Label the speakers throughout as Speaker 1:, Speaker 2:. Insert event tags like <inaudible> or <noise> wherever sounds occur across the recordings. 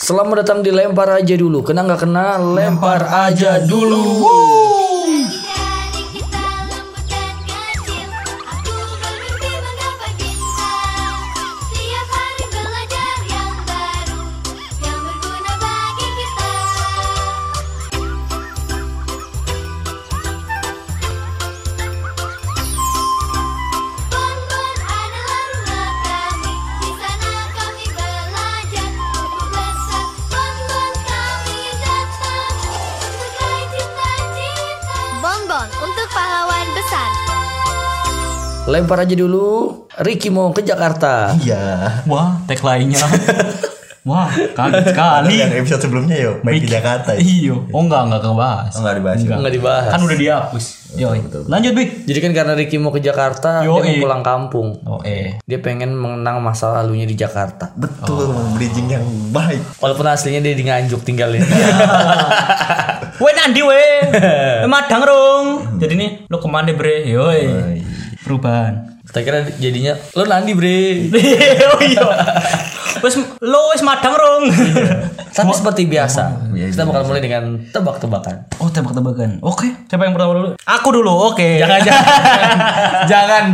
Speaker 1: Selamat datang di lempar aja dulu. Kena nggak kena lempar aja dulu.
Speaker 2: Jadi kita lembut dan kecil, aku bermimpi menggapai bintang. Tiap hari belajar yang baru, yang berguna bagi kita. Bonbon adalah rumah kami, di sana kami belajar untuk besar. Bonbon kami datang untuk raih cita-cita. Bonbon untuk pahlawan besar.
Speaker 1: Lempar aja dulu. Ricky mau ke Jakarta.
Speaker 3: Iya.
Speaker 4: Wah,
Speaker 3: <laughs>
Speaker 4: tagline-nya. Wah, kaget sekali.
Speaker 3: Yang episode sebelumnya yo, main di Jakarta. ya?
Speaker 4: Iyo. Oh enggak, enggak kebahas.
Speaker 3: Oh, nggak dibahas.
Speaker 1: Nggak dibahas.
Speaker 4: Kan udah dihapus. Yoi. Lanjut, Bik.
Speaker 1: Jadi kan karena Ricky mau ke Jakarta, dia
Speaker 4: Yoi.
Speaker 1: mau pulang kampung.
Speaker 4: Oh, eh.
Speaker 1: Dia pengen mengenang masa lalunya di Jakarta.
Speaker 3: Betul, bridging yang baik.
Speaker 1: Walaupun aslinya dia di Nganjuk tinggalnya.
Speaker 4: Weh nanti
Speaker 3: <laughs>
Speaker 4: weh. Madang rong.
Speaker 3: Hmm.
Speaker 4: Jadi nih lo kemana bre? Yoi.
Speaker 3: <laughs>
Speaker 4: Perubahan.
Speaker 1: Saya kira jadinya lo nanti bre.
Speaker 4: Oh iya. Wes lo wes madang rong.
Speaker 3: Iya.
Speaker 1: Tapi seperti biasa, kita bakal mulai dengan tebak-tebakan.
Speaker 4: <laughs> Oh tebak-tebakan. Oke. Siapa yang pertama dulu? Aku dulu. Oke.
Speaker 1: Jangan, <laughs> jangan, jangan.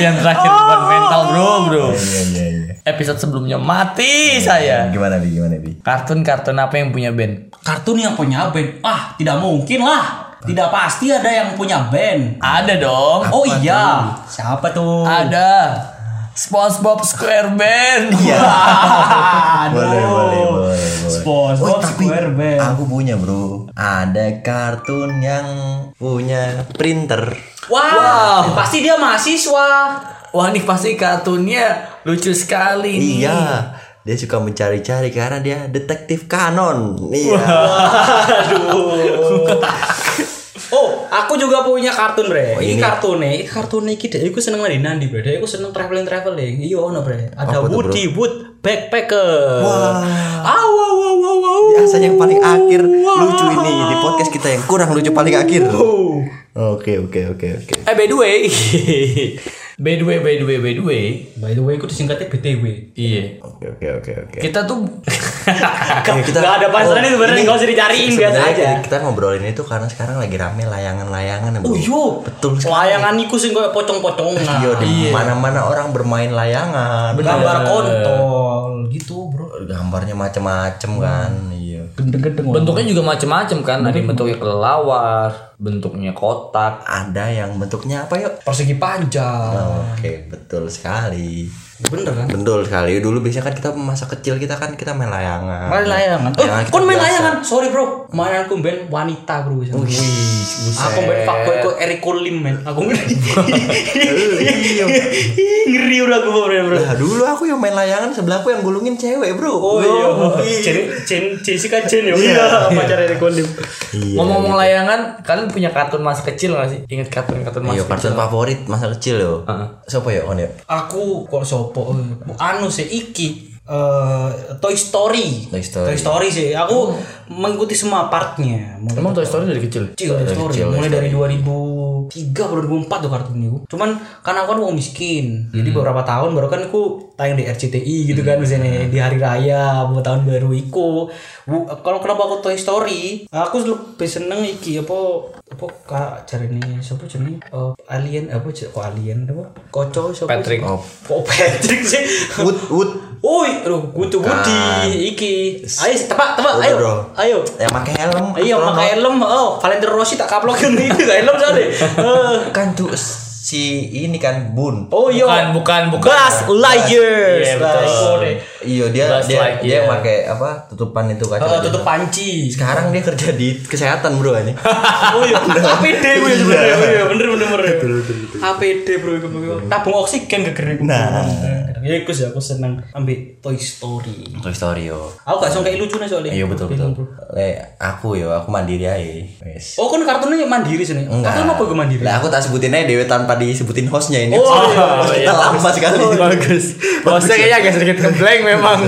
Speaker 1: Yang terakhir bukan mental bro, bro.
Speaker 3: Iya iya iya.
Speaker 1: Oh. Episode sebelumnya mati saya.
Speaker 3: Gimana bi? Gimana bi?
Speaker 1: Kartun-kartun apa yang punya band?
Speaker 4: Kartun yang punya band. Ah tidak mungkin lah. Tidak pasti ada yang punya band.
Speaker 1: Ada dong. Oh.
Speaker 4: Oh iya. Siapa tuh?
Speaker 1: Ada. SpongeBob SquarePants.
Speaker 4: Aduh.
Speaker 3: Boleh boleh boleh. boleh.
Speaker 4: SpongeBob
Speaker 3: Oh, tapi
Speaker 4: SquarePants.
Speaker 3: Aku punya bro. Ada kartun yang punya printer. Eh,
Speaker 4: Wah, pasti dia mahasiswa.
Speaker 1: <laughs> Wah ini pasti kartunnya lucu sekali. nih.
Speaker 3: Iya. Dia suka mencari-cari karena dia detektif kanon. Iya.
Speaker 4: Oh, aku juga punya kartun, Bre.
Speaker 3: Oh,
Speaker 4: ini,
Speaker 3: ini.
Speaker 4: kartun nih, kartun nih kita. Aku seneng lagi nandi, Bre. Aku seneng traveling traveling. Iya, ono, Bre. Ada
Speaker 3: Apa tuh,
Speaker 4: Woody Wood Backpacker.
Speaker 3: Wah.
Speaker 4: Aw, wow, wow, wow, wow.
Speaker 3: Biasanya yang paling akhir lucu ini di podcast kita yang kurang lucu paling akhir. Oke oke oke oke.
Speaker 1: Eh by the way, <laughs> by the way, by the way, by the way.
Speaker 4: By the way, aku disingkatnya BTW.
Speaker 1: Iya.
Speaker 3: Oke oke oke oke.
Speaker 1: Kita <laughs> tuh
Speaker 3: Oke, Iya, kita-
Speaker 4: Nggak ada pasarannya
Speaker 3: Oh,
Speaker 4: sebenarnya,
Speaker 3: ini
Speaker 4: nggak usah dicariin, biasa
Speaker 3: sebenarnya
Speaker 4: aja.
Speaker 3: Kita ngobrolin itu karena sekarang lagi rame layangan-layangan. Bro.
Speaker 4: Oh, iya.
Speaker 3: Betul sekali.
Speaker 4: Layangan iku sing koyo pocong-pocongan.
Speaker 3: Iya, di mana-mana orang bermain layangan. Iya.
Speaker 4: Gambar kontol gitu, Bro.
Speaker 3: Gambarnya macem-macem
Speaker 4: Hmm.
Speaker 3: kan. Iya.
Speaker 4: Gendeng-gendeng.
Speaker 1: bentuknya juga macam-macam kan. Ada yang bentuknya kelelawar, bentuknya kotak.
Speaker 3: Ada yang bentuknya apa yuk?
Speaker 4: persegi panjang.
Speaker 3: Oh, Oke,
Speaker 4: Hmm.
Speaker 3: betul sekali.
Speaker 4: Bener kan?
Speaker 3: Betul sekali. Dulu biasanya kan kita masa kecil kita kan kita main layangan.
Speaker 4: Main layangan. Eh,
Speaker 3: Layangan kita
Speaker 4: kon main
Speaker 3: biasa.
Speaker 4: layangan? Sorry bro, mainanku ben wanita bro. aku ben fuckboy kok Eric Lim men. Aku Iya. ngeri udah aku bro bro.
Speaker 3: Lah, dulu aku yang main layangan sebelahku yang gulungin cewek, Bro.
Speaker 4: Oh iya, Jen, Jen, Jessica Jen ya, iya, <laughs> pacar Eric Lim.
Speaker 3: Iya.
Speaker 1: Ngomong-ngomong layangan, kalian punya kartun masa kecil gak sih? Ingat kartun-kartun masa
Speaker 3: Iya,
Speaker 1: kecil?
Speaker 3: kartun favorit masa kecil yo. Siapa ya, On ya?
Speaker 4: Aku kok sopo, eh, anu sih Iki. eh, Toy Story. Oh.
Speaker 3: Toy Story.
Speaker 4: sih. Aku mengikuti semua partnya. Mengikuti
Speaker 1: Emang Toy Story Iya, dari kecil?
Speaker 4: kecil Toy Story
Speaker 3: kecil, Toy
Speaker 4: mulai dari 2003 atau 2004 tuh kartun itu cuman karena aku kan uang miskin jadi
Speaker 3: Hmm.
Speaker 4: beberapa tahun baru kan aku tayang di RCTI gitu kan misalnya di hari raya mau tahun baru iku Bu- kalau kenapa aku Toy Story aku lebih seneng iki apa apa kak cari ini siapa cari alien apa Jar- kok alien apa kocok siapa
Speaker 1: Patrick.
Speaker 3: Oh.
Speaker 4: kok Patrick sih
Speaker 3: Wood Wood.
Speaker 4: Woi, aduh, gue tuh Woody, iki. Ayo, tebak, tebak,
Speaker 3: Udah,
Speaker 4: ayo,
Speaker 3: bro.
Speaker 4: ayo.
Speaker 3: Yang Ya, pakai helm.
Speaker 4: Iya,
Speaker 3: astronot.
Speaker 4: pakai helm. Oh, Valentino Rossi tak kaplokin itu gak helm soalnya. Eh,
Speaker 3: kan tuh si ini kan Bun.
Speaker 4: Oh iya.
Speaker 1: Bukan, bukan, bukan.
Speaker 4: Buzz Lightyear.
Speaker 1: Iya, betul.
Speaker 3: Iya dia
Speaker 1: Buzz
Speaker 3: dia dia
Speaker 1: Lightyear.
Speaker 3: pakai apa tutupan itu kaca.
Speaker 4: Eh,
Speaker 3: kaca.
Speaker 4: tutup panci.
Speaker 3: <laughs> Sekarang dia kerja di kesehatan bro
Speaker 4: <laughs>
Speaker 3: ini.
Speaker 4: Oh iya, APD gue sebenarnya. Oh iya, bener bener bener. APD bro, iku, iku. tabung oksigen kegerin.
Speaker 3: Nah.
Speaker 4: ya aku sih aku seneng ambil Toy Story.
Speaker 3: Toy Story yo.
Speaker 4: Aku gak suka kayak lucu nih soalnya.
Speaker 3: Iya betul betul. Le, aku yo aku mandiri aja. Wes.
Speaker 4: Oh kan kartunnya mandiri sini. Kartun apa gue mandiri?
Speaker 3: Lah aku tak sebutin aja dewe tanpa disebutin hostnya ini. <laughs>
Speaker 4: Oh,
Speaker 3: Kita lama sekali.
Speaker 1: Oh, Iya. Bagus. Bosnya kayaknya agak sedikit ngeblank memang.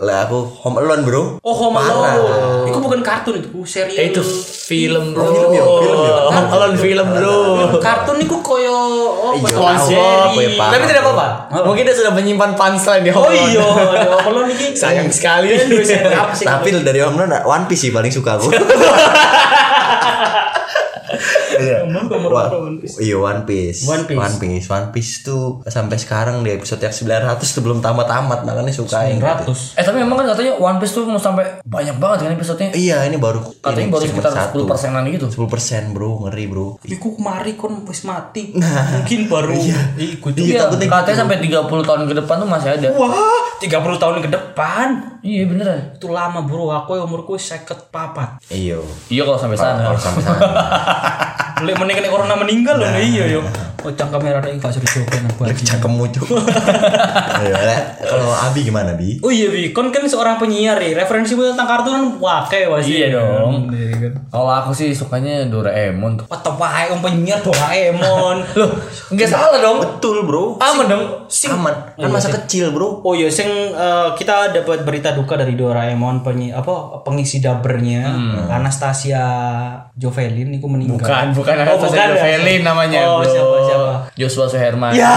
Speaker 3: Lah aku Home Alone bro.
Speaker 4: Oh Home
Speaker 3: Parah.
Speaker 4: Alone. Itu bukan kartun itu, serial.
Speaker 5: Eh, itu film bro.
Speaker 3: film ya, film ya.
Speaker 5: Home Alone film bro.
Speaker 4: kartun itu koyo apa?
Speaker 3: Iya.
Speaker 5: Home
Speaker 3: Allah, boy,
Speaker 5: series.
Speaker 3: parah.
Speaker 5: Tapi tidak apa-apa. Mungkin dia sudah menyimpan punchline di Home
Speaker 4: Oh
Speaker 5: Alone.
Speaker 4: iya, di Home Alone ini.
Speaker 5: <laughs>
Speaker 3: Iya.
Speaker 5: Sayang sekali.
Speaker 4: Ini tulisan apa sih?
Speaker 3: Tapi dari Home Alone One Piece sih paling suka aku. Iya. Wah, Iya One Piece.
Speaker 4: One Piece.
Speaker 3: One Piece. One Piece tuh sampai sekarang di episode yang 900 tuh belum tamat-tamat makanya suka yang gitu.
Speaker 4: 900.
Speaker 1: Eh tapi emang kan katanya One Piece tuh mau sampai banyak banget kan episode-nya.
Speaker 3: Iya, ini baru
Speaker 1: Katanya
Speaker 3: ini
Speaker 1: baru
Speaker 3: segmen
Speaker 1: sekitar
Speaker 3: satu.
Speaker 1: 10 persenan gitu.
Speaker 3: 10% bro, ngeri bro.
Speaker 4: Tapi ku kemari kon wis mati. Mungkin baru ikut.
Speaker 3: Iya,
Speaker 1: Iya,
Speaker 3: takutnya
Speaker 1: katanya sampai 30 tahun ke depan tuh masih ada.
Speaker 4: Wah, 30 tahun ke depan.
Speaker 1: Iya beneran.
Speaker 4: Itu lama, Bro. Aku umurku 54.
Speaker 3: Iya.
Speaker 1: Iya kalau sampai sana.
Speaker 3: Kalau sampai sana.
Speaker 4: Lek meneh kena corona meninggal loh. Iya yo. Oh, cangkem merah iki gak serius yo kena
Speaker 3: Lagi cakemmu
Speaker 1: <laughs>
Speaker 3: cuk. Ayo, Le. kalau Abi gimana, Bi?
Speaker 4: Oh iya Bi, kon kan seorang penyiar ya. Referensimu tentang kartun kan wakai pasti.
Speaker 1: Iya dong. <laughs> Kalau aku sih sukanya Doraemon tuh.
Speaker 4: Tetep wae om penyiar Doraemon.
Speaker 1: Loh, enggak
Speaker 3: Iya.
Speaker 1: salah dong.
Speaker 3: Betul, bro.
Speaker 1: Aman dong. Iya,
Speaker 4: Sing-
Speaker 3: Aman. Kan masa kecil, bro.
Speaker 4: Oh iya, sing eh, kita dapat berita duka dari Doraemon penyi apa pengisi dubbernya Anastasia Jovelin itu meninggal.
Speaker 5: Hmm. Bukan, bukan Anastasia
Speaker 4: bukan ya?
Speaker 5: Jovelin namanya,
Speaker 4: Oh,
Speaker 5: bro.
Speaker 4: siapa siapa?
Speaker 1: Joshua Suherman.
Speaker 3: Iya.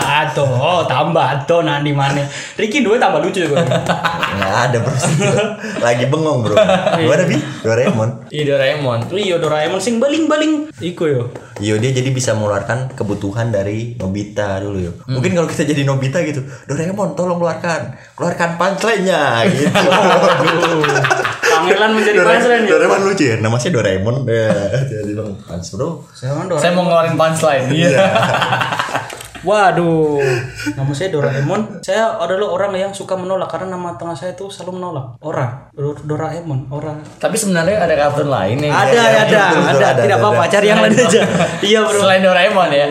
Speaker 4: Ya, aduh, oh, tambah aduh nanti mana? Ricky dua tambah lucu juga.
Speaker 3: Nggak ada,
Speaker 1: <laughs>
Speaker 3: bro. Lagi bengong, bro. Gimana, Bi? Doraemon.
Speaker 1: Iya Doraemon.
Speaker 4: Iya Doraemon sing baling-baling iku yo.
Speaker 3: Yo Iya, dia jadi bisa mengeluarkan kebutuhan dari Nobita dulu yo.
Speaker 1: Hmm.
Speaker 3: Mungkin kalau kita jadi Nobita gitu, Doraemon tolong keluarkan, keluarkan punchline-nya <laughs> gitu.
Speaker 4: Pangeran menjadi
Speaker 3: Dora-
Speaker 4: pangeran yo.
Speaker 3: Doraemon lucu ya, namanya Doraemon. Ya, <laughs> jadi bang punch bro.
Speaker 4: Saya
Speaker 5: Saya mau ngeluarin punchline. Iya.
Speaker 4: Waduh, nama saya Doraemon. Saya adalah orang yang suka menolak karena nama tengah saya itu selalu menolak. Orang, Dor- Doraemon, orang.
Speaker 1: <laughs> Tapi sebenarnya ada kartun lain yang
Speaker 4: Ada,
Speaker 3: iya,
Speaker 4: ada,
Speaker 3: betul, betul,
Speaker 4: ada.
Speaker 3: ada,
Speaker 4: Tidak
Speaker 3: ada,
Speaker 4: apa-apa,
Speaker 3: ada.
Speaker 4: cari yang lain aja. <laughs> Iya bro.
Speaker 1: selain Doraemon ya.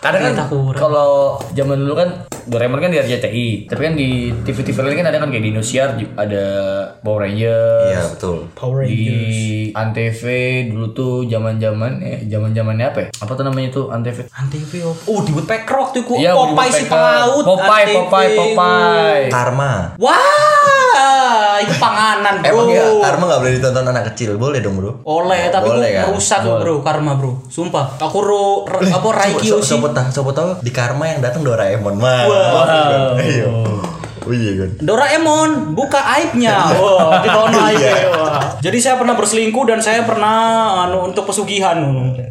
Speaker 1: Karena kan
Speaker 4: Ternyata kurang.
Speaker 1: kalau zaman dulu kan Doraemon kan di RCTI, tapi kan di TV-TV lain kan ada kan kayak di Indosiar ju- ada Power Rangers.
Speaker 3: Iya betul.
Speaker 4: Power
Speaker 1: Di
Speaker 4: Rangers.
Speaker 1: Antv dulu tuh zaman-zaman eh zaman-zamannya apa ya? Apa tuh namanya tuh Antv?
Speaker 4: Antv op- Oh, di Woodpecker waktu itu.
Speaker 1: Iya,
Speaker 4: Popeye
Speaker 1: Woody
Speaker 4: si
Speaker 1: Woodpecker.
Speaker 4: pelaut.
Speaker 1: Popeye,
Speaker 4: Antv.
Speaker 1: Popeye, Popeye.
Speaker 3: Karma.
Speaker 4: Wah, itu panganan bro.
Speaker 3: Emang ya Karma nggak boleh ditonton anak kecil, boleh dong bro.
Speaker 4: Oleh, tapi
Speaker 3: Boleh,
Speaker 4: itu
Speaker 3: kan?
Speaker 4: merusak bro, karma bro. Sumpah, aku ro, re-
Speaker 3: <laughs>
Speaker 4: apa
Speaker 3: Raiki so,
Speaker 4: Raikyo sih.
Speaker 3: so, tahu, sopo tahu di Karma yang datang Doraemon mah. Iya. Oh iya kan.
Speaker 4: Doraemon buka aibnya. Wah, kita ono aibnya. Wah. Jadi saya pernah berselingkuh dan saya pernah anu untuk pesugihan.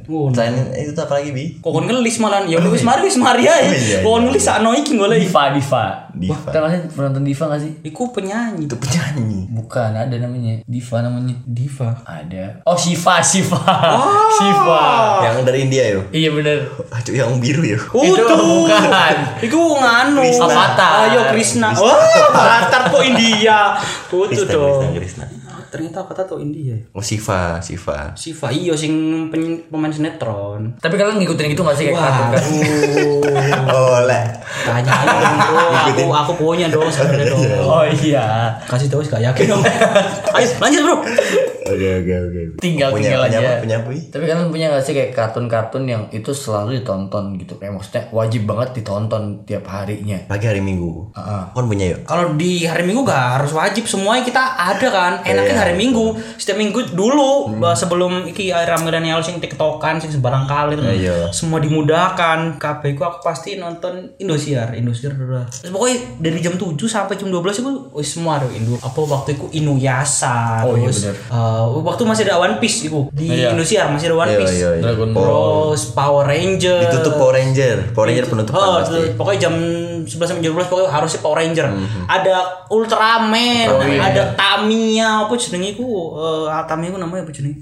Speaker 4: Wah,
Speaker 3: Selain itu tuh apalagi bi?
Speaker 4: Kok kon ngelis malahan ya wis mari wis mari ae.
Speaker 3: iya,
Speaker 4: Kok kon ngelis sakno iki golek.
Speaker 1: Diva, Diva.
Speaker 3: Diva.
Speaker 1: Wah, Kita masih pernah nonton Diva gak sih?
Speaker 4: Iku penyanyi
Speaker 3: Itu penyanyi.
Speaker 1: Bukan, ada namanya Diva namanya.
Speaker 4: diva.
Speaker 1: Ada. Oh, Shiva, Shiva. Shiva.
Speaker 3: Yang dari India yo.
Speaker 1: Iya bener.
Speaker 3: Aduh yang biru yo.
Speaker 1: Itu bukan.
Speaker 4: Iku nganu.
Speaker 3: Krishna.
Speaker 4: Avatar. Ayo Krishna. Wah, Avatar kok India. Kutu
Speaker 3: Kristen, Kristen,
Speaker 4: dong. Ah,
Speaker 3: Kristen.
Speaker 4: Ternyata Avatar tuh India. ya.
Speaker 3: Oh Siva, Siva.
Speaker 4: Siva iyo sing pen- pemain sinetron. Eh,
Speaker 1: Tapi kalian ngikutin gitu gak sih kayak
Speaker 4: Wah,
Speaker 1: kartun-kartun?
Speaker 3: Oleh.
Speaker 4: tanya bro, aku aku punya dong sebenarnya dong.
Speaker 1: Oh iya.
Speaker 4: kasih tahu sih gak yakin dong ayo lanjut bro
Speaker 3: Oke oke oke.
Speaker 1: Tinggal
Speaker 3: punya,
Speaker 1: tinggal
Speaker 3: punya
Speaker 1: aja.
Speaker 3: apa? Punya apa? Wi?
Speaker 1: Tapi kalian punya gak sih kayak kartun-kartun yang itu selalu ditonton gitu? Kayak maksudnya wajib banget ditonton tiap harinya.
Speaker 3: Pagi hari Minggu.
Speaker 1: Heeh.
Speaker 3: Kon punya yuk.
Speaker 4: kalau di hari minggu gak harus wajib semuanya kita ada kan enaknya
Speaker 3: Iya.
Speaker 4: hari minggu setiap minggu dulu
Speaker 3: Hmm.
Speaker 4: bah, sebelum iki era milenial sing tiktokan sing sembarang kali
Speaker 3: Iya.
Speaker 4: semua dimudahkan kabeh ku aku pasti nonton Indosiar Indosiar udah Terus pokoknya dari jam 7 sampai jam 12 itu wih, semua ada Indo apa waktu itu Inuyasha
Speaker 1: Oh, iya,
Speaker 4: terus
Speaker 1: bener.
Speaker 4: eh, waktu masih ada One Piece itu di
Speaker 1: Iya.
Speaker 4: Indosiar masih ada One
Speaker 3: Iya
Speaker 4: Piece
Speaker 3: iya iya.
Speaker 1: Dragon Ball.
Speaker 4: terus Power Ranger
Speaker 3: Ditutup Power Ranger. Power Ranger penutupan
Speaker 4: Oh,
Speaker 3: pasti. Mhm.
Speaker 4: tuh, pokoknya jam 11 sampai jam 12 pokoknya harusnya Power Ranger. Ada Ultraman,
Speaker 3: iya.
Speaker 4: ada Tamiya, apa jenenge iku? Eh Tamiya iku namanya apa jenenge?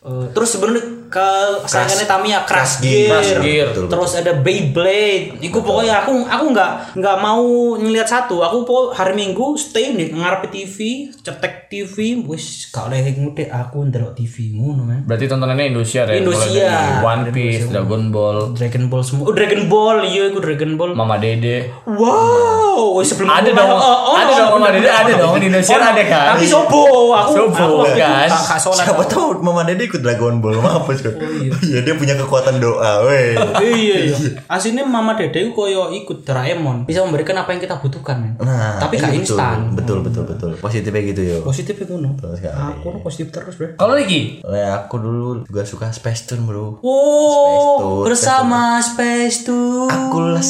Speaker 4: Eh, terus sebenarnya ke sayangannya Tamiya
Speaker 3: Crash
Speaker 4: Crash
Speaker 3: Gear.
Speaker 4: Gear,
Speaker 3: Crash Gear. Betul, betul.
Speaker 4: terus ada Beyblade. Iku pokoknya aku aku nggak nggak mau ngelihat satu. Aku pokok hari Minggu stay di ngarep TV, cetek TV, wis gak oleh ngudek aku ndelok TV ngono kan.
Speaker 1: Berarti tontonannya Indosiar ya?
Speaker 4: Indosiar.
Speaker 1: Mulai dari One Piece, Dragon Ball,
Speaker 4: Dragon Ball semua. Oh, Dragon Ball, iya iku Dragon Ball.
Speaker 1: Mama Dede.
Speaker 4: Wow, sebelum Oh,
Speaker 1: Ada dong, ada dong, Mama Dede ada dong di Indonesia ada kan.
Speaker 4: Tapi sobo, aku
Speaker 1: Sobo,
Speaker 4: aku waktu itu
Speaker 1: kan.
Speaker 4: kak- Kak Solan.
Speaker 3: Siapa tahu Mama Dede ikut Dragon Ball
Speaker 4: Oh,
Speaker 3: mampus kan. <laughs> iya. dia punya kekuatan doa, weh.
Speaker 4: iya iya aslinya mama dede ku koyo ikut Doraemon bisa memberikan apa yang kita butuhkan men
Speaker 3: Nah,
Speaker 4: tapi
Speaker 3: iya,
Speaker 4: gak
Speaker 3: betul,
Speaker 4: instan
Speaker 3: Betul, betul, betul. Positifnya gitu yo.
Speaker 4: positif itu no
Speaker 3: Betul sekali.
Speaker 4: aku no positif terus bro
Speaker 1: Kalau Ricky,
Speaker 3: Oleh aku dulu juga suka Space Tune, Bro.
Speaker 4: Wow,
Speaker 3: Oh, Space Tour,
Speaker 4: bersama Space Tour
Speaker 3: Akulah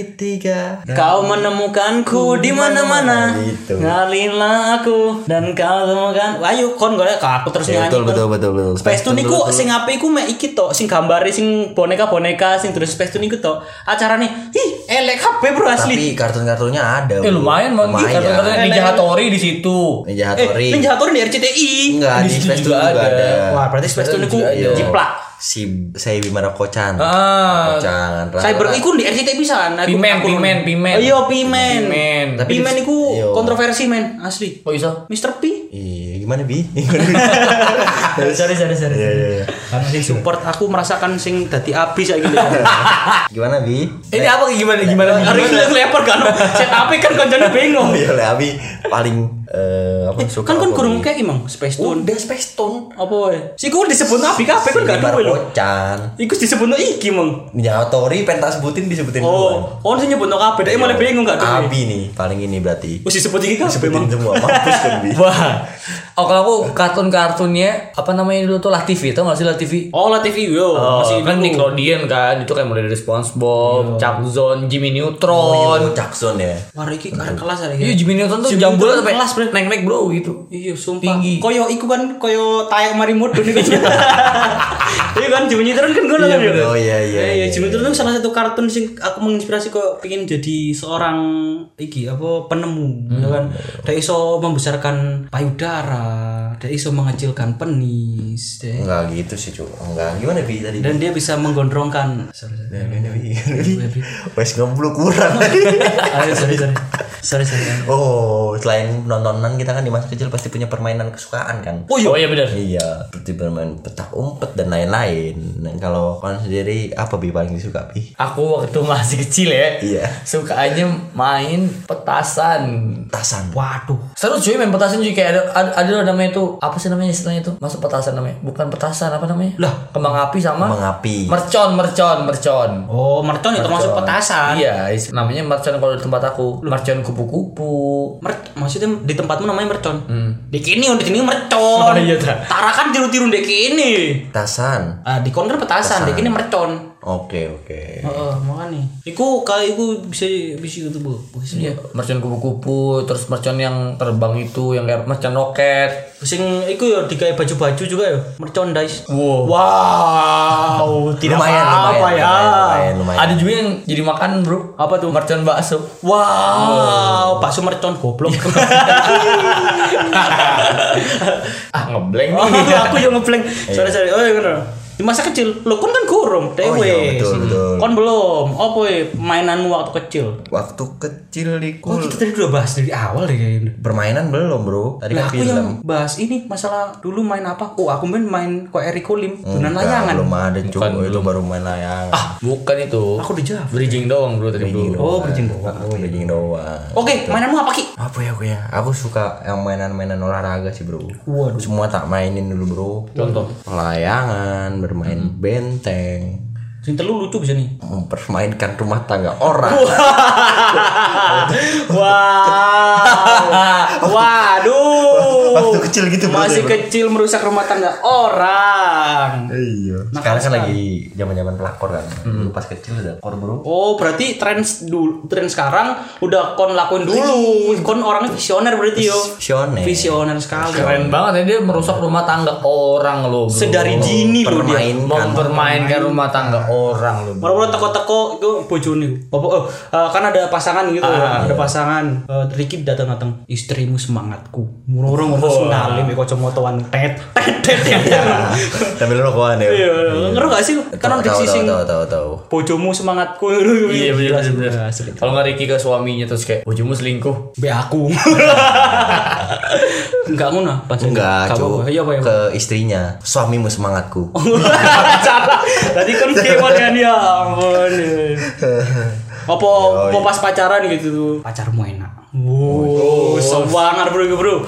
Speaker 3: segitiga.
Speaker 4: Kau menemukanku di mana-mana.
Speaker 3: Gitu.
Speaker 4: Ngalinlah aku dan kau temukan. Wah, Ayo kon golek kau aku terus
Speaker 3: Ya,
Speaker 4: nyanyi.
Speaker 3: betul,
Speaker 4: kon.
Speaker 3: betul, betul, betul.
Speaker 4: Space Tune
Speaker 3: dulu
Speaker 4: niku
Speaker 3: tuh.
Speaker 4: sing ape iku mek iki tok, sing gambare sing boneka-boneka sing terus Space Tune iku tok. Acarane ih elek kabeh bro asli.
Speaker 3: Tapi kartun-kartunnya ada.
Speaker 1: eh,
Speaker 3: Bro.
Speaker 1: lumayan bang.
Speaker 3: Lumayan.
Speaker 1: Kata-kata Ninja Hattori di situ.
Speaker 3: Ninja
Speaker 4: eh,
Speaker 3: Hattori.
Speaker 4: Ninja Hattori di RCTI.
Speaker 3: Enggak,
Speaker 1: Di
Speaker 3: di
Speaker 1: situ
Speaker 3: Space Tune
Speaker 1: juga
Speaker 3: juga,
Speaker 1: ada.
Speaker 3: ada.
Speaker 4: Wah, berarti Space Tune iku
Speaker 3: Iya.
Speaker 4: jiplak.
Speaker 3: Si saya Bimara Kocan.
Speaker 1: Ah.
Speaker 3: Kocan.
Speaker 4: Cyber iku di RCTI pisan. Aku-
Speaker 1: Pimen,
Speaker 4: aku-
Speaker 1: Pimen, Pimen.
Speaker 4: Oh, Iya, Pimen.
Speaker 1: Pimen. Tapi
Speaker 4: Pimen iku
Speaker 3: Iya.
Speaker 4: kontroversi men, asli.
Speaker 1: Kok Oh, bisa?
Speaker 4: Mr. P
Speaker 3: Iya, gimana bi? <laughs> Gimana, Bi?
Speaker 4: sorry sorry sorry
Speaker 3: Iya, iya, iya.
Speaker 4: karena sing support aku merasakan sing dadi abis
Speaker 3: <laughs>
Speaker 4: <laughs> Iya. saya gitu
Speaker 3: gimana bi?
Speaker 1: Ini apa gimana gimana?
Speaker 4: hari ini lepor kan set api kan koncone bingung
Speaker 3: Ya lah Abi paling eh, apa suka.
Speaker 4: kan kan
Speaker 3: apa, Oh.
Speaker 4: kurung
Speaker 3: Bi?
Speaker 4: kayak imang space tune
Speaker 3: Udah Space Tune.
Speaker 4: apa ya si kau disebut abi kape kan
Speaker 3: Si
Speaker 4: gak
Speaker 3: Bimara
Speaker 4: duwe lho
Speaker 3: Kocan.
Speaker 4: iku disebut iki mang
Speaker 3: Ninja Hattori pentas sebutin disebutin duluan.
Speaker 4: oh kon sing nyebut kape dia malah bingung gak duwe
Speaker 3: Abi nih paling ini berarti.
Speaker 4: wis Iya. disebut iki kape
Speaker 3: Sebutin
Speaker 4: mang
Speaker 3: semua mampus kan bi.
Speaker 1: Wah. Oh kalau aku kartun-kartunnya apa namanya dulu tuh lah TV tau gak sih lah TV?
Speaker 4: Oh lah TV yo masih
Speaker 1: kan
Speaker 4: dulu.
Speaker 1: Nickelodeon kan itu kan mulai dari SpongeBob, Chuck Zone, Jimmy
Speaker 3: Oh,
Speaker 1: Neutron.
Speaker 3: Jackson ya.
Speaker 4: Wah iki karek kelas ada
Speaker 1: Iya
Speaker 4: ya.
Speaker 1: Jimmy Neutron tuh
Speaker 4: Jimmy
Speaker 1: jam bulan
Speaker 4: Neutron
Speaker 1: sampai
Speaker 4: kelas, Bre.
Speaker 1: naik-naik bro gitu.
Speaker 4: Iya sumpah.
Speaker 1: Tinggi.
Speaker 4: Koyo iku kan koyo tayak mari mudun iku. <laughs> Iya kan Jimmy Neutron kan ngono kan.
Speaker 3: bener.
Speaker 4: ya?
Speaker 3: Oh, iya, iya,
Speaker 4: Eh,
Speaker 3: iya,
Speaker 4: Jimmy Neutron itu salah satu kartun sing aku menginspirasi kok pengen jadi seorang iki apa penemu ya kan. Dia iso membesarkan payudara, dia iso mengecilkan penis, dia-
Speaker 3: Enggak gitu sih cu. Enggak. Gimana bi tadi?
Speaker 4: dan dia bisa menggondrongkan. Sorry, sorry.
Speaker 3: Ya, Gimana bi?
Speaker 4: iya.
Speaker 3: Gimana,
Speaker 4: <laughs>
Speaker 3: Bi? Wes ngeblok kurang. <laughs>
Speaker 4: Ayo, sorry, sorry. Sorry, sorry.
Speaker 3: Oh, selain nontonan kita kan di masa kecil pasti punya permainan kesukaan kan?
Speaker 1: Oh iya, bener
Speaker 3: Iya, seperti bermain petak umpet dan lain-lain. Nah, kalau kalian sendiri apa bi paling disuka bi?
Speaker 1: Aku waktu masih kecil ya.
Speaker 3: Iya.
Speaker 1: Suka aja main petasan.
Speaker 3: Tasan.
Speaker 4: Waduh.
Speaker 1: Seru cuy main petasan cuy kayak ada ada, ada loh namanya itu apa sih namanya istilahnya itu? Masuk petasan namanya. Bukan petasan apa namanya?
Speaker 4: Lah.
Speaker 1: kembang api sama
Speaker 3: Mengapi.
Speaker 1: mercon, mercon, mercon.
Speaker 4: Oh, mercon itu termasuk petasan.
Speaker 1: Iya, is- namanya mercon kalau di tempat aku. Mercon kupu-kupu.
Speaker 4: Mer maksudnya di tempatmu namanya mercon. Dek ini di sini mercon. <laughs>
Speaker 1: Oh, iya, Ta.
Speaker 4: Tara kan tiru-tiru dek ini.
Speaker 3: Tasan.
Speaker 4: Ah, di kon kan petasan, dek ini mercon.
Speaker 3: Oke, oke.
Speaker 4: Heeh, makanya. Iku kali iku bisa bisa gitu, Bu. Iya.
Speaker 1: Mercon kupu-kupu, terus mercon yang terbang itu, yang kayak mercon roket.
Speaker 4: Sing iku ya digawe baju-baju juga ya, merchandise.
Speaker 1: Wow.
Speaker 4: Wow, Oh, tidak
Speaker 3: Lumayan, lumayan,
Speaker 4: apa, ya.
Speaker 3: lumayan, lumayan, lumayan.
Speaker 1: Ada juga yang jadi makan, Bro.
Speaker 4: Apa tuh?
Speaker 1: Mercon bakso.
Speaker 4: Wow, bakso mercon goblok. <laughs>
Speaker 1: Ah, ngeblank
Speaker 4: Oh,
Speaker 1: nih.
Speaker 4: <laughs> aku yang ngeblank. Sorry, sorry. Oh, iya bener. Di masa kecil, lo kan kan kurung, dewe.
Speaker 3: Oh, iya, betul,
Speaker 4: Hmm.
Speaker 3: betul.
Speaker 4: Kon belum. Apa ya mainanmu waktu kecil?
Speaker 3: Waktu kecil
Speaker 4: Kok gitu?
Speaker 3: iku
Speaker 4: Oh, kita tadi udah bahas dari awal deh kayaknya.
Speaker 3: permainan belum, Bro. Tadi
Speaker 4: Lah
Speaker 3: kan
Speaker 4: aku
Speaker 3: film.
Speaker 4: yang bahas ini masalah dulu main apa? Oh, aku main main kok Eriko Lim, dunan
Speaker 3: Enggak,
Speaker 4: layangan.
Speaker 3: Belum ada cu. Itu baru main layangan. Ah,
Speaker 1: <laughs> Bukan itu.
Speaker 4: Aku di Jawa.
Speaker 1: Bridging doang, Bro, tadi, Bro.
Speaker 4: Oh, berjinggo.
Speaker 3: aku daging doang.
Speaker 4: Oke, mainanmu apa ki?
Speaker 3: Apa ya aku ya? Aku suka yang mainan-mainan olahraga sih, Bro.
Speaker 4: Waduh.
Speaker 3: Semua tak mainin dulu, Bro.
Speaker 1: Contoh.
Speaker 3: Layangan, bermain
Speaker 4: Hmm.
Speaker 3: benteng,
Speaker 4: Sing telu lucu bisa <laughs> nih.
Speaker 3: mempermainkan rumah tangga orang.
Speaker 4: Wow. Waduh.
Speaker 3: Waktu kecil gitu, Bro.
Speaker 4: Masih kecil merusak rumah tangga orang.
Speaker 3: Iya. Sekarang kan lagi zaman-zaman pelakor kan. Dulu
Speaker 4: Hmm.
Speaker 3: pas kecil udah pelakor,
Speaker 4: <laughs>
Speaker 3: Bro.
Speaker 4: Oh, berarti tren dulu tren sekarang udah kon lakuin dulu. Kon orangnya visioner berarti yo.
Speaker 3: Iya. Visioner.
Speaker 4: Visioner sekali.
Speaker 1: Keren banget ya dia merusak rumah tangga orang loh, Bro.
Speaker 3: Oh,
Speaker 4: Sedari jini loh dia.
Speaker 3: Permainkan.
Speaker 1: mempermainkan rumah tangga orang loh. Bro.
Speaker 4: Moro-moro teko-teko itu bojone iku. Apa oh, eh, kan ada pasangan gitu
Speaker 3: Ah,
Speaker 4: ya.
Speaker 3: iya.
Speaker 4: Ada pasangan Eh, Ricky datang-datang istrimu semangatku. Moro-moro
Speaker 3: Oh,
Speaker 4: ngurus
Speaker 3: iya.
Speaker 4: ngalim ya, kacamataan tet tet tet. tet.
Speaker 3: Tapi lu rokokan ya.
Speaker 4: <laughs> Iya, ngerti gak sih? Kan
Speaker 3: Iya. Tahu,
Speaker 4: ada
Speaker 3: tahu,
Speaker 4: sing
Speaker 3: tahu, tahu, tahu.
Speaker 4: bojomu semangatku.
Speaker 1: Iya bener
Speaker 4: Jelas,
Speaker 1: bener.
Speaker 4: jelas, jelas.
Speaker 1: Kalau nggak Ricky ke suaminya terus kayak bojomu selingkuh.
Speaker 4: Be aku. Enggak ngono, Pak.
Speaker 3: Enggak,
Speaker 4: Nggak
Speaker 3: cu.
Speaker 4: apa-apa. Iya, Pak. iya, Pak.
Speaker 3: Ke
Speaker 4: <laughs>
Speaker 3: istrinya, suamimu semangatku.
Speaker 4: Salah. Tadi kan kewalian ya ampun. ya. Apa
Speaker 3: Oh, iya.
Speaker 4: mau pas pacaran gitu Pacarmu enak.
Speaker 3: Oh.
Speaker 4: Wow, semangat bro bro.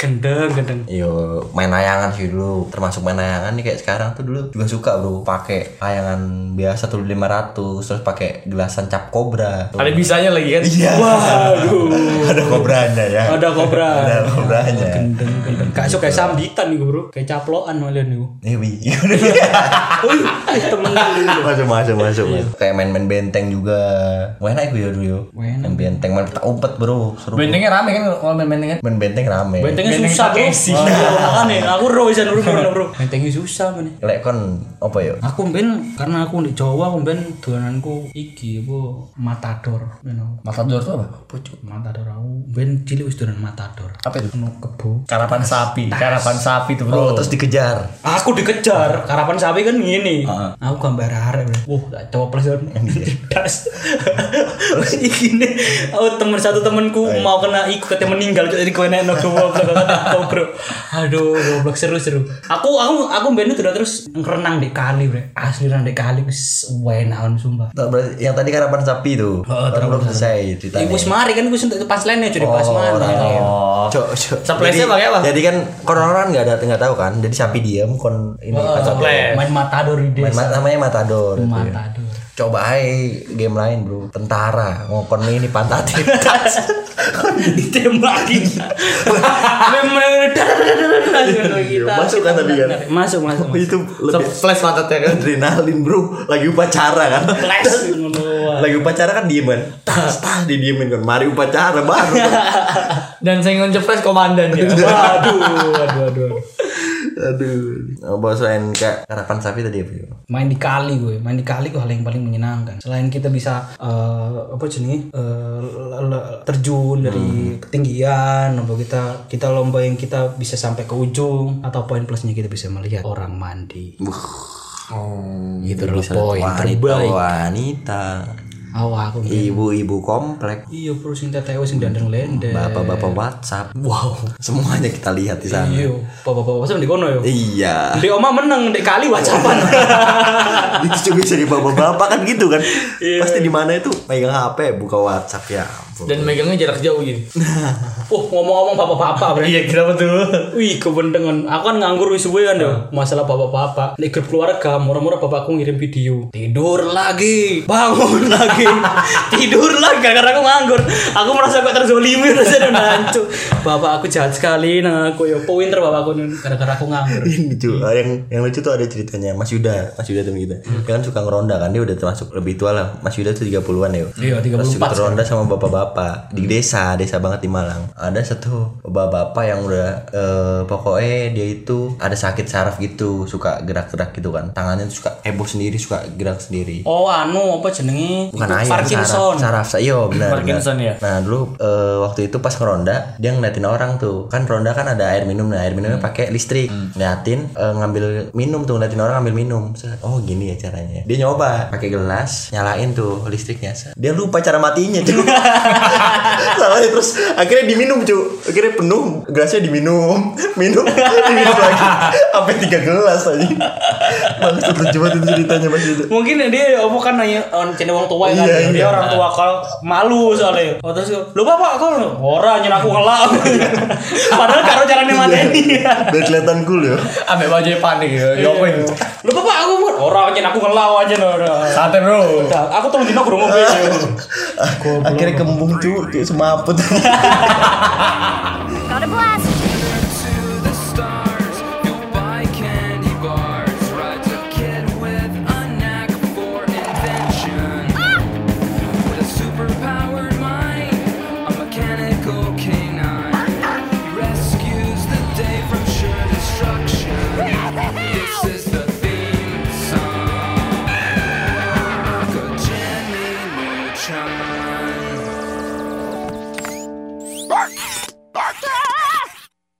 Speaker 4: Gendeng gendeng.
Speaker 3: Yo, main layangan sih dulu. Termasuk main layangan nih kayak sekarang tuh dulu juga suka bro. Pakai layangan biasa tuh 500 terus pakai gelasan cap kobra.
Speaker 5: Ada bisanya lagi kan?
Speaker 3: Iya.
Speaker 4: Waduh.
Speaker 3: Ada kobranya ya.
Speaker 4: Ada kobra.
Speaker 3: Ada kobranya.
Speaker 4: Gendeng gendeng. Kayak sok kayak sambitan nih bro. Kayak caploan malah
Speaker 3: <laughs>
Speaker 4: nih.
Speaker 3: Nih, wi.
Speaker 4: Temen dulu.
Speaker 3: masuk masuk masuk. masuk. Kayak main-main benteng juga. Wah enak gue ya dulu yo.
Speaker 4: Wah, enak.
Speaker 3: Main benteng, main petak umpet bro. Seru.
Speaker 1: Bentengnya rame kan kalau main bentengnya.
Speaker 3: Main benteng rame.
Speaker 4: Bentengnya
Speaker 1: Benteng
Speaker 4: susah bro. <laughs>
Speaker 1: Takeshi.
Speaker 4: Makan nih. Aku roisan bro bro bro. Bentengnya susah mana.
Speaker 3: Lek kon apa yo?
Speaker 4: Aku ben karena aku di Jawa aku ben dolananku iki apa matador. Ben aku.
Speaker 1: Matador tuh apa?
Speaker 4: Pucuk matador aku ben cilik wis dolan matador.
Speaker 1: Apa itu?
Speaker 4: Ono kebo.
Speaker 1: Karapan <laughs> sapi, karapan sapi tuh bro.
Speaker 3: Oh, terus dikejar.
Speaker 4: Aku dikejar, karapan sapi kan gini. Aku gambar arek. Bro. Wah, tak coples kan. Cerdas. <laughs> Ini oh teman satu temanku mau kena ikut katanya meninggal jadi kowe nek nogo goblok kata bro. Aduh, goblok seru-seru. Aku aku aku ben itu udah terus renang di kali, Bre. Asli renang di kali wis wenaon sumpah.
Speaker 3: Tak, berarti- Yang tadi karapan sapi tuh. Kan belum selesai ceritanya.
Speaker 4: Ibu semari kan gue sentuh pas lainnya jadi pas
Speaker 3: Oh,
Speaker 4: mana.
Speaker 3: Cok, cok.
Speaker 1: Suplesnya
Speaker 3: Jadi-
Speaker 1: pakai apa?
Speaker 3: Jadi kan kon orang nggak ada nggak tahu kan. Jadi sapi diem kon ini macam
Speaker 4: Main matador di
Speaker 3: main
Speaker 4: desa.
Speaker 3: ma- namanya matador. itu ya.
Speaker 4: Matador.
Speaker 3: Coba aja game lain bro. Tentara ngokon ini pantatin.
Speaker 4: <laughs> ditembakin
Speaker 3: Iya, Masuk kan tapi kan?
Speaker 4: masuk masuk
Speaker 3: <laughs> itu lebih
Speaker 1: Flash pantatnya kan.
Speaker 3: adrenalin bro. Lagi upacara <laughs> kan.
Speaker 4: flash
Speaker 3: Lagi upacara kan diem kan. Tas tas didiemin kan. Mari upacara baru. kan? <laughs>
Speaker 1: Dan saya flash komandan <laughs> ya.
Speaker 4: waduh waduh waduh
Speaker 3: Aduh. Apa selain kayak karapan sapi tadi apa? Bro?
Speaker 4: main di kali gue main di kali gue hal yang paling menyenangkan selain kita bisa eh, apa jenis
Speaker 3: Hmm.
Speaker 4: terjun dari ketinggian lomba kita kita lomba yang kita bisa sampai ke ujung atau poin plusnya kita bisa melihat orang mandi
Speaker 3: Oh,
Speaker 4: Itu loh poin
Speaker 3: wanita,
Speaker 4: terbaik.
Speaker 3: wanita.
Speaker 4: awal aku
Speaker 3: ibu-ibu komplek,
Speaker 4: iya bro sing tetewe sing dandeng-lendeng
Speaker 3: bapak-bapak WhatsApp. Wow, <laughs> semuanya kita lihat di sana.
Speaker 4: iya bapak-bapak sama di kono yo
Speaker 3: Iya. <laughs>
Speaker 4: Di oma menang di kali wacapan.
Speaker 3: Itu juga bisa di bapak-bapak kan gitu kan.
Speaker 4: Iya.
Speaker 3: Pasti di mana itu pegang HP, buka WhatsApp ya. ampun.
Speaker 1: Dan megangnya jarak jauh gini.
Speaker 4: oh ngomong-ngomong bapak-bapak bre.
Speaker 1: Iya kenapa tuh? Ah.
Speaker 4: Wih kebendengan. Aku kan nganggur wis suwe kan yo. Masalah bapak-bapak. Di grup keluarga murah-murah bapakku ngirim video. Tidur lagi, bangun <laughs> lagi, tidur lagi karena aku nganggur. Aku merasa kok terzolimi rasanya udah hancur. Bapak aku jahat sekali nah aku yo pointer bapakku nun. gara-gara aku nganggur.
Speaker 3: Ini lucu. Gitu. Ah, Yang yang lucu tuh ada ceritanya Mas Yuda, Mas Yuda teman kita.
Speaker 4: Hmm.
Speaker 3: Dia kan suka ngeronda kan, dia udah termasuk lebih tua lah. Mas Yuda tuh 30-an ya.
Speaker 4: Iya, 34
Speaker 3: Terus juga ngeronda sama
Speaker 4: Hmm.
Speaker 3: bapak-bapak di desa, desa banget di Malang. Ada satu bapak-bapak yang udah eh, pokoknya dia itu ada sakit saraf gitu, suka gerak-gerak gitu kan. Tangannya tuh suka heboh sendiri, suka gerak sendiri.
Speaker 4: Oh anu apa jenenge?
Speaker 3: Bukan ayam,
Speaker 4: Parkinson.
Speaker 3: saraf, saraf, iya benar.
Speaker 1: Parkinson,
Speaker 3: benar.
Speaker 1: ya?
Speaker 3: Nah dulu eh, waktu itu pas ngeronda dia ngeliatin orang tuh kan ronda kan ada air minum nah air minumnya pakai listrik ngeliatin eh, ngambil minum tuh ngeliatin orang ngambil minum Set. oh gini ya caranya dia nyoba pakai gelas nyalain tuh listriknya Set. dia lupa cara matinya cuy salahnya terus akhirnya diminum cuy akhirnya penuh gelasnya diminum <laughs> minum diminum lagi sampai tiga gelas aja Bangsat lucu banget itu ceritanya mas itu
Speaker 4: Mungkin dia apa kan nanya on channel orang tua kan.
Speaker 3: Iya,
Speaker 4: dia
Speaker 3: iya.
Speaker 4: orang tua kalau malu soalnya. Oh terus lu bapak kok ora nyen aku ngelak. <laughs> Padahal karo carane mateni.
Speaker 3: Iya. biar kelihatan cool ya
Speaker 1: Ambek baju panik ya. Yokin.
Speaker 4: Lu bapak aku ora nyen aku ngelak aja ora.
Speaker 1: Santai bro.
Speaker 4: Nah, Aku tolong dino kurang
Speaker 3: Eh.
Speaker 4: ngombe.
Speaker 3: akhirnya kembung cu, cu semaput
Speaker 2: Gotta